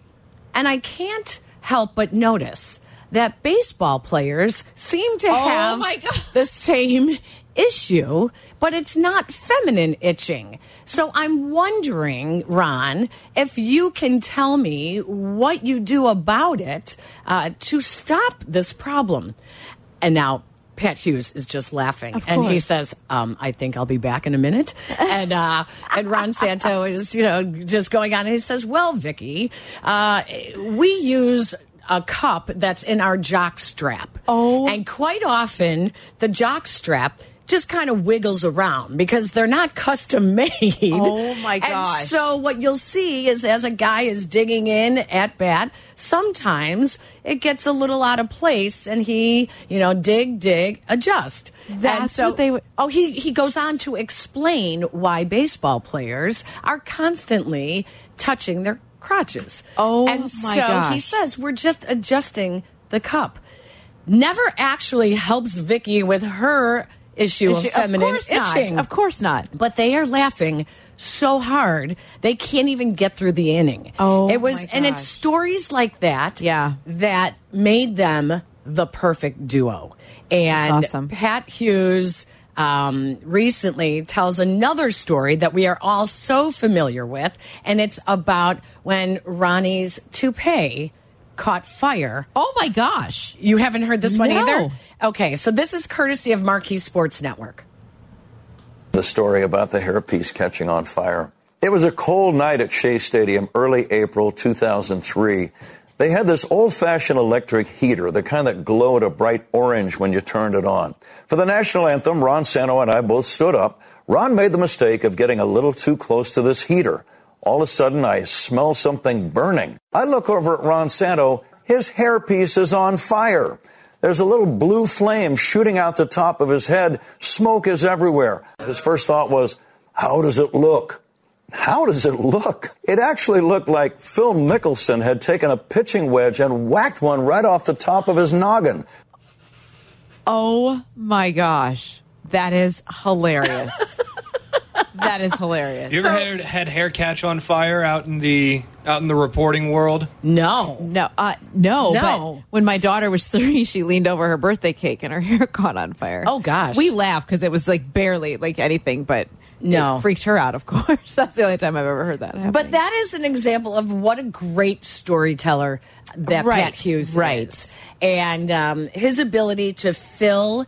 S6: and I can't help but notice that baseball players seem to have
S4: Oh my God.
S6: the same issue, but it's not feminine itching. So I'm wondering, Ron, if you can tell me what you do about it uh, to stop this problem. And now, Pat Hughes is just laughing,
S4: Of
S6: and he
S4: course.
S6: says, um, "I think I'll be back in a minute." And uh, and Ron Santo is, you know, just going on, and he says, "Well, Vicky, uh, we use." A cup that's in our jock strap.
S4: Oh.
S6: And quite often, the jock strap just kind of wiggles around because they're not custom made.
S4: Oh, my
S6: And
S4: gosh.
S6: so, what you'll see is as a guy is digging in at bat, sometimes it gets a little out of place and he, you know, dig, dig, adjust. And
S4: That's
S6: so,
S4: what they would-
S6: Oh, he he goes on to explain why baseball players are constantly touching their crotches.
S4: Oh,
S6: and
S4: my
S6: so he
S4: gosh.
S6: says we're just adjusting the cup. Never actually helps Vicky with her issue of feminine
S4: course
S6: itching.
S4: not. Of course not.
S6: But they are laughing so hard they can't even get through the inning.
S4: Oh,
S6: it was,
S4: my
S6: and it's
S4: gosh.
S6: stories like that,
S4: Yeah.
S6: that made them the perfect duo. And
S4: That's awesome.
S6: Pat Hughes um, recently tells another story that we are all so familiar with, and it's about when Ronnie's toupee caught fire.
S4: Oh my gosh.
S6: You haven't heard this one
S4: No.
S6: either? Okay, so this is courtesy of Marquee Sports Network.
S11: the story about the hairpiece catching on fire. It was a cold night at Shea Stadium, early April 2003. They had this old fashioned electric heater, the kind that glowed a bright orange when you turned it on. For the national anthem, Ron Santo and I both stood up. Ron made the mistake of getting a little too close to this heater. All of a sudden, I smell something burning. I look over at Ron Santo. His hairpiece is on fire. There's a little blue flame shooting out the top of his head. Smoke is everywhere. His first thought was, How does it look? How does it look? It actually looked like Phil Mickelson had taken a pitching wedge and whacked one right off the top of his noggin.
S4: Oh my gosh. That is hilarious. that is hilarious.
S5: You ever had, had hair catch on fire out in the out in the reporting world?
S6: No.
S4: No, uh, no,
S6: No.
S4: But when my daughter was three, she leaned over her birthday cake and her hair caught on fire.
S6: Oh, gosh.
S4: we laughed because it was like barely like anything, but
S6: No.
S4: it freaked her out. Of course, that's the only time I've ever heard that. Happening.
S6: But that is an example of what a great storyteller that Pat
S4: Right,
S6: Hughes
S4: right.
S6: is. And um, his ability to fill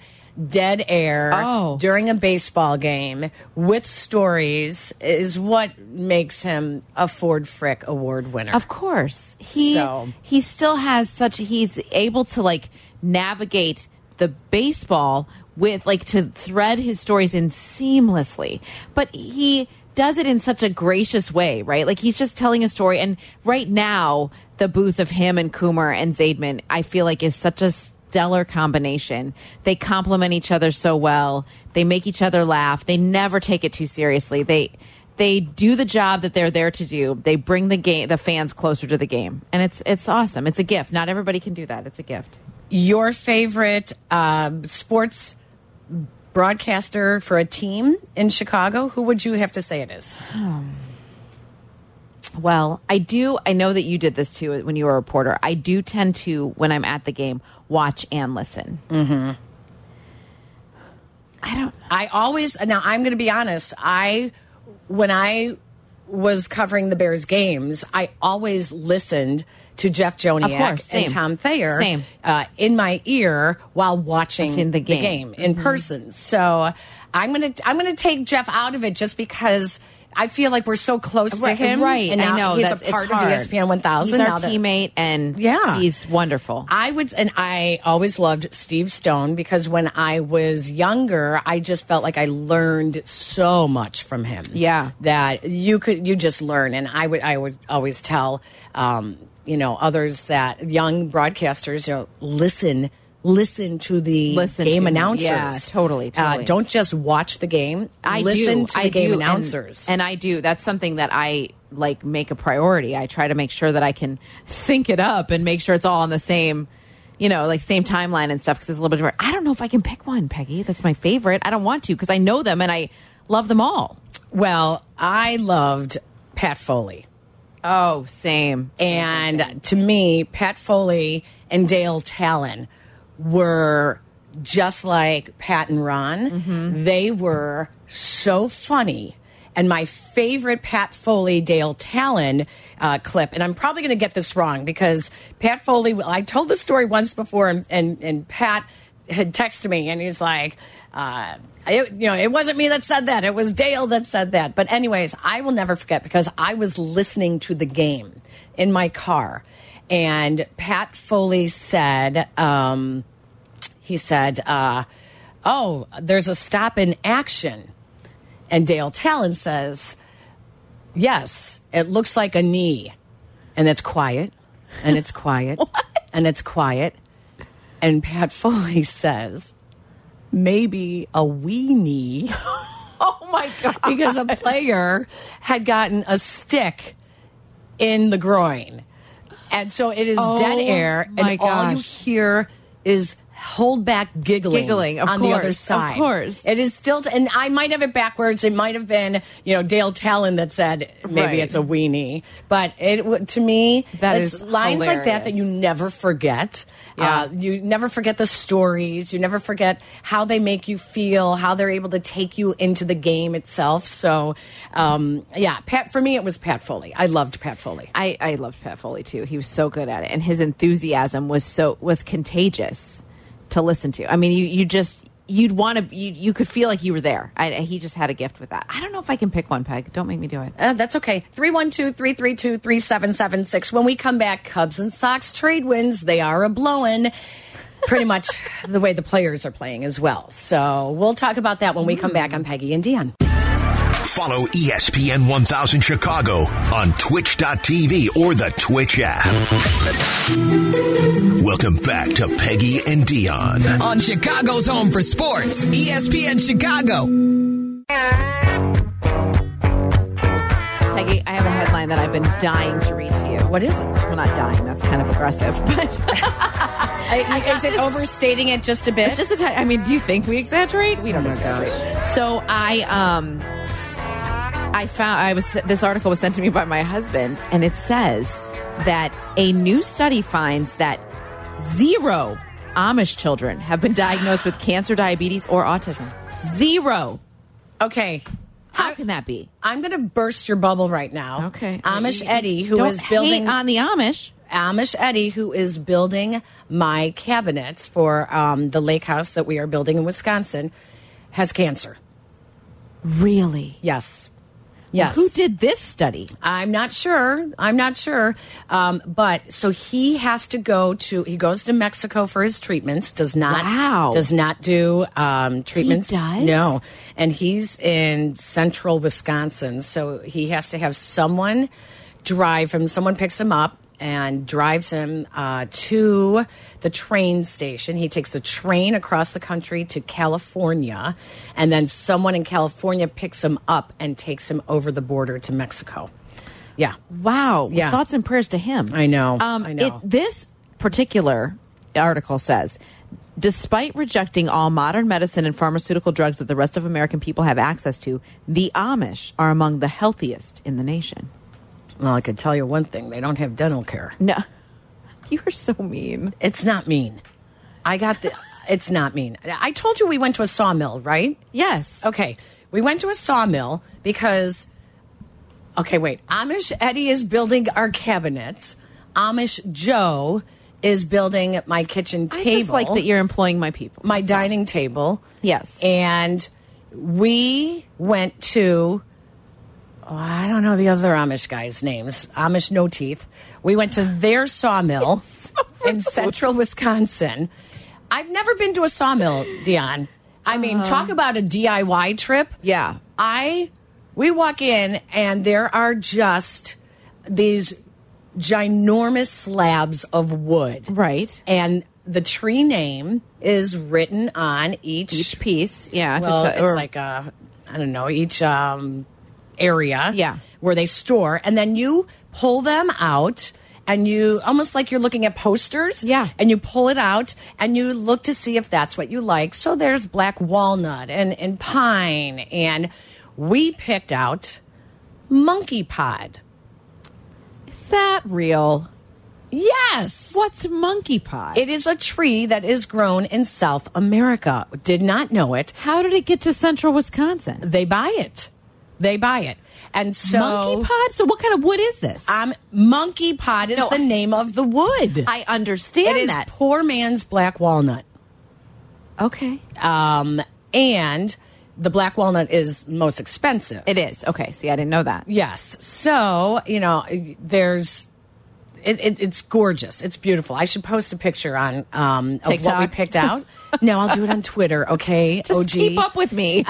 S6: dead air
S4: Oh.
S6: during a baseball game with stories is what makes him a Ford Frick Award winner.
S4: Of course. He
S6: So-
S4: he still has such he's able to like navigate the baseball with like to thread his stories in seamlessly. But he does it in such a gracious way, right? Like he's just telling a story and right now the booth of him and Coomer and Zaidman I feel like is such a stellar combination. They complement each other so well. They make each other laugh. They never take it too seriously. They they do the job that they're there to do. They bring the game, the fans closer to the game, and it's it's awesome. It's a gift. Not everybody can do that. It's a gift.
S6: Your favorite uh, sports broadcaster for a team in Chicago, who would you have to say it is?
S4: Well, I do. I know that you did this too when you were a reporter. I do tend to, when I'm at the game, watch and listen.
S6: Mm-hmm.
S4: I don't.
S6: I always now. I'm going to be honest. I when I was covering the Bears games, I always listened to Jeff
S4: Of
S6: Joniak
S4: course, same.
S6: and Tom Thayer
S4: Same.
S6: Uh, in my ear while watching,
S4: Watching the game.
S6: in
S4: Mhm.
S6: person. So I'm gonna I'm gonna take Jeff out of it just because. I feel like we're so close
S4: Right,
S6: to him,
S4: right.
S6: And
S4: I
S6: now
S4: know,
S6: he's a
S4: that's- it's
S6: part of E
S4: hard.
S6: ESPN 1000.
S4: He's our
S6: now that-
S4: teammate, and
S6: yeah,
S4: he's wonderful.
S6: I would, and I always loved Steve Stone because when I was younger, I just felt like I learned so much from him.
S4: Yeah.
S6: that you could, you just learn, and I would, I would always tell, um, you know, others that young broadcasters, you know, listen. Listen to the
S4: Listen
S6: game
S4: to-
S6: announcers.
S4: yeah, totally,
S6: Uh,
S4: totally.
S6: don't just watch the game.
S4: I
S6: listen
S4: do.
S6: to the
S4: I
S6: game
S4: do, and-
S6: announcers.
S4: and, I do. That's something that I like make a priority. I try to make sure that I can sync it up and make sure it's all on the same, you know, like same timeline and stuff. Because it's a little bit different. I don't know if I can pick one, Peggy. That's my favorite. I don't want to because I know them and I love them all.
S6: Well, I loved Pat Foley.
S4: Oh, same.
S6: And to me, Pat Foley and Dale Talon were just like Pat and Ron. They were so funny. And my favorite Pat Foley Dale Talon uh, clip, and I'm probably going to get this wrong because Pat Foley, I told this story once before, and, and, and Pat had texted me and he's like, uh, it, you know, it wasn't me that said that. It was Dale that said that. But, anyways, I will never forget because I was listening to the game in my car. And Pat Foley said, um, he said, uh, Oh, there's a stop in action. And Dale Talon says, Yes, it looks like a knee. And it's quiet. And it's quiet. and it's quiet. And Pat Foley says, Maybe a weenie.
S4: Oh my god!
S6: because a player had gotten a stick in the groin. And so it is
S4: Oh
S6: dead air,
S4: my
S6: and all you
S4: gosh.
S6: hear is hold back giggling,
S4: Giggling, of
S6: on the other
S4: course, of
S6: side.
S4: course.
S6: It is still, and I might have it backwards. It might have been, you know, Dale Talon that said maybe
S4: Right.
S6: it's a weenie, but it w- to me
S4: That
S6: it's
S4: is
S6: lines like that that
S4: hilarious.
S6: you never forget.
S4: Yeah.
S6: Uh, you never forget the stories. You never forget how they make you feel, how they're able to take you into the game itself. So, um, yeah, Pat. For me, it was Pat Foley. I loved Pat Foley.
S4: I, I loved Pat Foley too. He was so good at it, and his enthusiasm was so was contagious to listen to. I mean, you you just you'd want to you you could feel like you were there. I, he just had a gift with that. I don't know if I can pick one, Peg. Don't make me do it.
S6: Uh, that's okay. 312 332 3776. When we come back, Cubs and Sox trade wins. They are a blowin'. Pretty much the way the players are playing as well. So we'll talk about that when we come back on Peggy and Dion.
S2: Follow E ESPN 1000 Chicago on twitch.tv or the Twitch app. Welcome back to Peggy and Dion.
S7: On Chicago's Home for Sports, E ESPN Chicago.
S4: Peggy, I have a headline that I've been dying to read to you.
S6: What is it?
S4: Well, not dying. That's kind of aggressive, but
S6: is it overstating it just a bit?
S4: just a tiny. I mean, do you think we exaggerate? We don't exaggerate. So I um I found I was this article was sent to me by my husband, and it says that a new study finds that zero Amish children have been diagnosed with cancer, diabetes, or autism. Zero.
S6: Okay.
S4: How can that be?
S6: I'm going to burst your bubble right now. Amish Eddie, who is
S4: Don't
S6: building
S4: hate on the Amish.
S6: Amish Eddie, who is building my cabinets for um, the lake house that we are building in Wisconsin, has cancer.
S4: Really?
S6: Yes. Yes.
S4: Who did this study?
S6: I'm not sure. I'm not sure. Um, but so he has to go to he goes to Mexico for his treatments. Does not
S4: Wow.
S6: does not do um, treatments.
S4: does?
S6: No, and he's in central Wisconsin, so he has to have someone drive him. Someone picks him up and drives him uh, to the train station. He takes the train across the country to California, and then someone in California picks him up and takes him over the border to Mexico. Yeah.
S4: Wow.
S6: Yeah.
S4: Thoughts and prayers to him. Um,
S6: I know. I know.
S4: this particular article says. Despite rejecting all modern medicine and pharmaceutical drugs that the rest of American people have access to, the Amish are among the healthiest in the nation.
S6: Well, I could tell you one thing: they don't have dental care.
S4: No, you are so mean.
S6: It's not mean. I got the. it's not mean. I told you we went to a sawmill, right?
S4: Yes.
S6: Okay, we went to a sawmill because. Okay, wait. Amish Eddie is building our cabinets. Amish Joe is building my kitchen table.
S4: I just like that you're employing my people.
S6: my dining table.
S4: Yes.
S6: And we went to, oh, I don't know the other Amish guys' names, Amish No Teeth. We went to their sawmill in central Wisconsin. I've never been to a sawmill, Dion. I mean, talk about a DIY trip.
S4: Uh-huh. Yeah.
S6: I, we walk in and there are just these ginormous slabs of wood.
S4: Right.
S6: And the tree name is written on each,
S4: Each piece. Yeah.
S6: well,
S4: just, uh,
S6: it's
S4: or-
S6: like a, I don't know, each um, area
S4: Yeah.
S6: where they store. And then you pull them out and you almost like you're looking at posters.
S4: Yeah.
S6: And you pull it out and you look to see if that's what you like. So there's black walnut and, and pine. And we picked out monkey pod.
S4: is that real?
S6: Yes.
S4: What's monkey pot?
S6: It is a tree that is grown in South America. Did not know it.
S4: How did it get to central Wisconsin?
S6: They buy it. They buy it. And so
S4: monkey pod? So what kind of wood is this?
S6: Um, monkey pod is
S4: No,
S6: the
S4: I-
S6: name of the wood.
S4: I
S6: it
S4: understand
S6: is
S4: that.
S6: poor man's black walnut.
S4: okay.
S6: Um, and the black walnut is most expensive.
S4: It is. Okay. See, I didn't know that.
S6: Yes. So, you know, there's. It, it, it's gorgeous. It's beautiful. I should post a picture on um, of what we
S4: TikTok?
S6: picked out. no, I'll do it on Twitter. Okay,
S4: Just
S6: OG.
S4: keep up with me.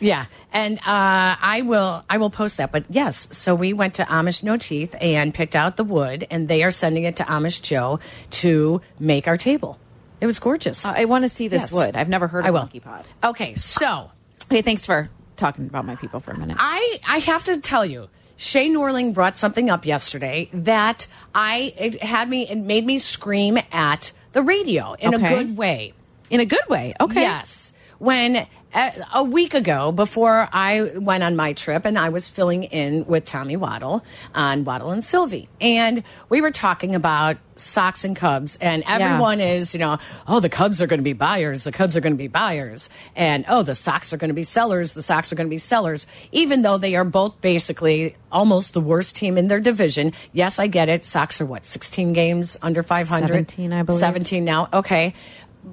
S6: Yeah, and uh, I will I will post that. But yes, so we went to Amish No Teeth and picked out the wood, and they are sending it to Amish Joe to make our table. It was gorgeous.
S4: I want to see Uh, this
S6: Yes.
S4: wood. I've never heard
S6: I
S4: of
S6: will.
S4: monkey pod.
S6: Okay, so
S4: Hey, thanks for talking about my people for a minute.
S6: I I have to tell you. Shay Norling brought something up yesterday that I it had me it made me scream at the radio in
S4: Okay.
S6: a good way.
S4: In a good way. Okay.
S6: Yes. When uh, a week ago, before I went on my trip, and I was filling in with Tommy Waddle on Waddle and Sylvie, and we were talking about socks and Cubs, and everyone is, you know, oh, the Cubs are going to be buyers, the Cubs are going to be buyers, and oh, the socks are going to be sellers, the socks are going to be sellers, even though they are both basically almost the worst team in their division. Yes, I get it. Socks are what, 16 games under 500?
S4: 17, I believe.
S6: 17 17 now. Okay.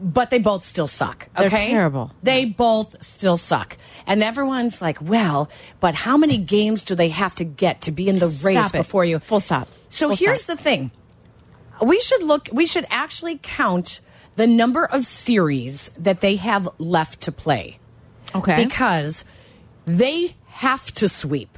S6: But they both still suck.
S4: They're
S6: Okay.
S4: terrible.
S6: They both still suck. And everyone's like, well, but how many games do they have to get to be in the race
S4: Stop it.
S6: before you?
S4: Full stop.
S6: So
S4: Full
S6: here's
S4: stop.
S6: the thing. We should look, we should actually count the number of series that they have left to play
S4: Okay.
S6: because they have to sweep.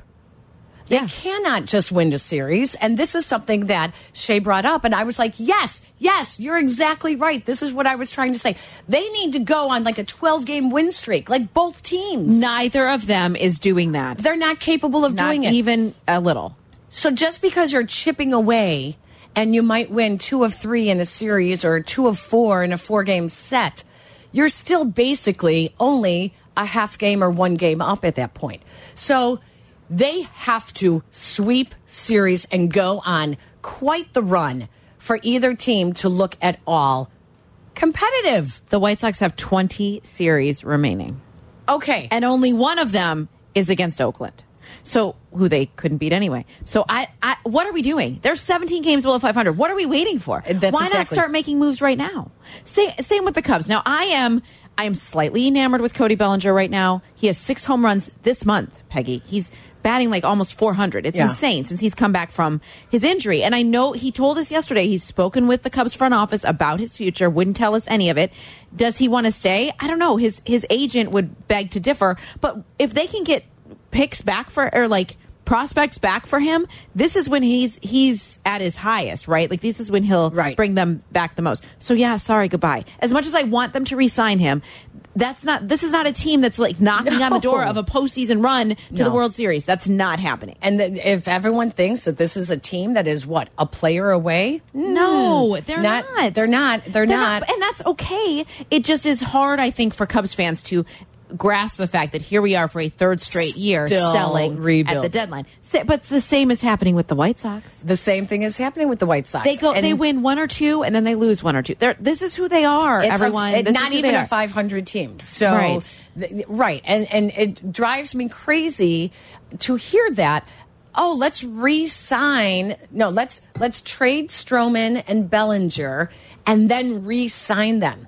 S6: They
S4: Yeah.
S6: cannot just win a series. And this is something that Shay brought up. And I was like, yes, yes, you're exactly right. This is what I was trying to say. They need to go on like a 12 game win streak, like both teams.
S4: Neither of them is doing that.
S6: They're not capable of
S4: Not
S6: doing it.
S4: even a little.
S6: So just because you're chipping away and you might win two of three in a series or two of four in a four game set, you're still basically only a half game or one game up at that point. So they have to sweep series and go on quite the run for either team to look at all competitive.
S4: The White Sox have 20 series remaining,
S6: Okay.
S4: and only one of them is against Oakland. So who they couldn't beat anyway. So I, I what are we doing? There's 17 games below 500. What are we waiting for?
S6: That's
S4: Why not
S6: exactly-
S4: start making moves right now? Same, same with the Cubs. Now I am I am slightly enamored with Cody Bellinger right now. He has six home runs this month, Peggy. He's batting like almost 400. It's
S6: Yeah.
S4: insane since he's come back from his injury. And I know he told us yesterday he's spoken with the Cubs front office about his future, wouldn't tell us any of it. Does he want to stay? I don't know. His his agent would beg to differ, but if they can get picks back for or like prospects back for him, this is when he's he's at his highest, right? Like this is when he'll
S6: Right.
S4: bring them back the most. So yeah, sorry, goodbye. As much as I want them to re-sign him, that's not. This is not a team that's like knocking on the door
S6: No.
S4: of a postseason run to the
S6: No.
S4: World Series. That's not happening.
S6: and th- if everyone thinks that this is a team that is what a player away,
S4: No, they're not,
S6: Mm. Not- they're not. They're not.
S4: And that's okay. It just is hard, I think, for Cubs fans to grasp the fact that here we are for a third straight year
S6: Still
S4: selling at the
S6: rebuilding.
S4: deadline. Sa- But the same is happening with the White Sox.
S6: The same thing is happening with the White Sox.
S4: They go,
S6: And
S4: they win one or two, and then they lose one or two. They're, this is who they are.
S6: it's a-
S4: everyone,
S6: it-
S4: This is
S6: not
S4: who
S6: even
S4: they
S6: a
S4: are.
S6: 500 team. So
S4: Right.
S6: th- right, and and it drives me crazy to hear that. Oh, let's re-sign. No, let's let's trade Stroman and Bellinger, and then re-sign them.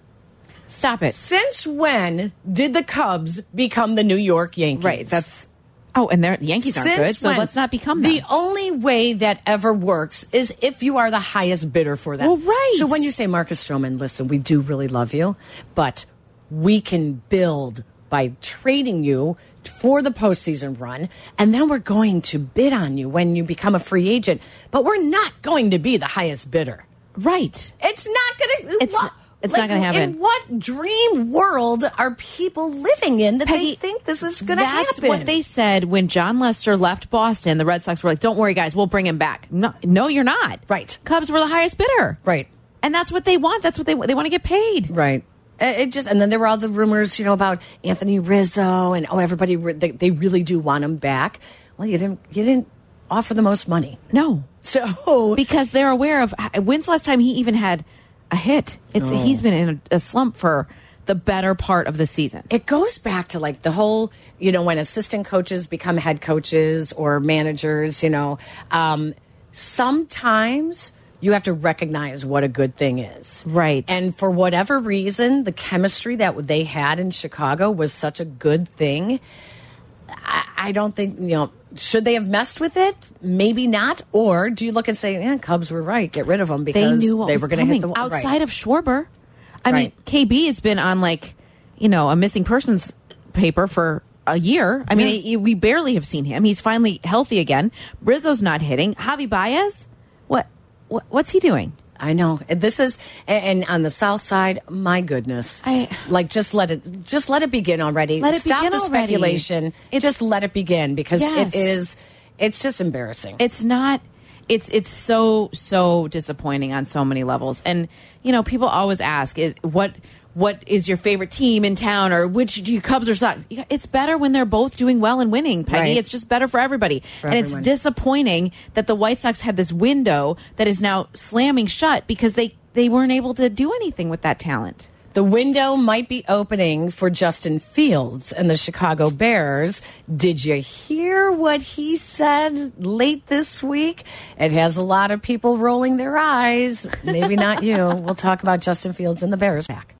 S4: Stop it.
S6: Since when did the Cubs become the New York Yankees?
S4: Right. That's oh, and they're, the Yankees aren't
S6: Since
S4: good, so
S6: when?
S4: let's not become them.
S6: The only way that ever works is if you are the highest bidder for them.
S4: Well, right.
S6: So when you say Marcus Stroman, listen, we do really love you, but we can build by trading you for the postseason run, and then we're going to bid on you when you become a free agent. But we're not going to be the highest bidder.
S4: right.
S6: It's not going to.
S4: It's- it's not gonna happen.
S6: In what dream world are people living in that they
S4: Peggy,
S6: think this is going to happen?
S4: That's what they said when John Lester left Boston. The Red Sox were like, "Don't worry, guys, we'll bring him back." No, no, you're not.
S6: Right.
S4: Cubs were the highest bidder.
S6: Right.
S4: And that's what they want. That's what they they want to get paid.
S6: Right. It it just and then there were all the rumors, you know, about Anthony Rizzo and oh, everybody re- they, they really do want him back. Well, you didn't you didn't offer the most money,
S4: No,
S6: so
S4: because they're aware of when's the last time he even had a hit. It's he's been in a, a slump for the better part of the season.
S6: it goes back to like the whole, you know, when assistant coaches become head coaches or managers, you know, um, sometimes you have to recognize what a good thing is.
S4: Right.
S6: And for whatever reason, the chemistry that they had in Chicago was such a good thing. I, I don't think, you know, should they have messed with it? Maybe not. Or do you look and say, eh, Cubs were right, get rid of them
S4: they
S6: because
S4: knew what
S6: they
S4: was
S6: were going
S4: coming
S6: to hit the wall.
S4: outside
S6: Right.
S4: of Schwarber. I
S6: Right.
S4: mean, KB has been on like you know a missing persons paper for a year. I mean, he- we barely have seen him. He's finally healthy again. Rizzo's not hitting. Javi Baez, what, what what's he doing?
S6: I know. This is and and on the south side, my goodness.
S4: I-
S6: like just let it just let it begin already.
S4: Let it
S6: Stop
S4: begin
S6: the
S4: already.
S6: speculation. just let it begin because
S4: Yes.
S6: it is it's just embarrassing.
S4: It's not. It's it's so so disappointing on so many levels. And you know, people always ask, is what what is your favorite team in town, or which do you Cubs or Sox? You- It's better when they're both doing well and winning, Peggy.
S6: Right.
S4: It's just better for everybody. and
S6: everyone.
S4: it's disappointing that the White Sox had this window that is now slamming shut because they they weren't able to do anything with that talent.
S6: the window might be opening for Justin Fields and the Chicago Bears. Did you hear what he said late this week? It has a lot of people rolling their eyes. Maybe not you. We'll talk about Justin Fields and the Bears back.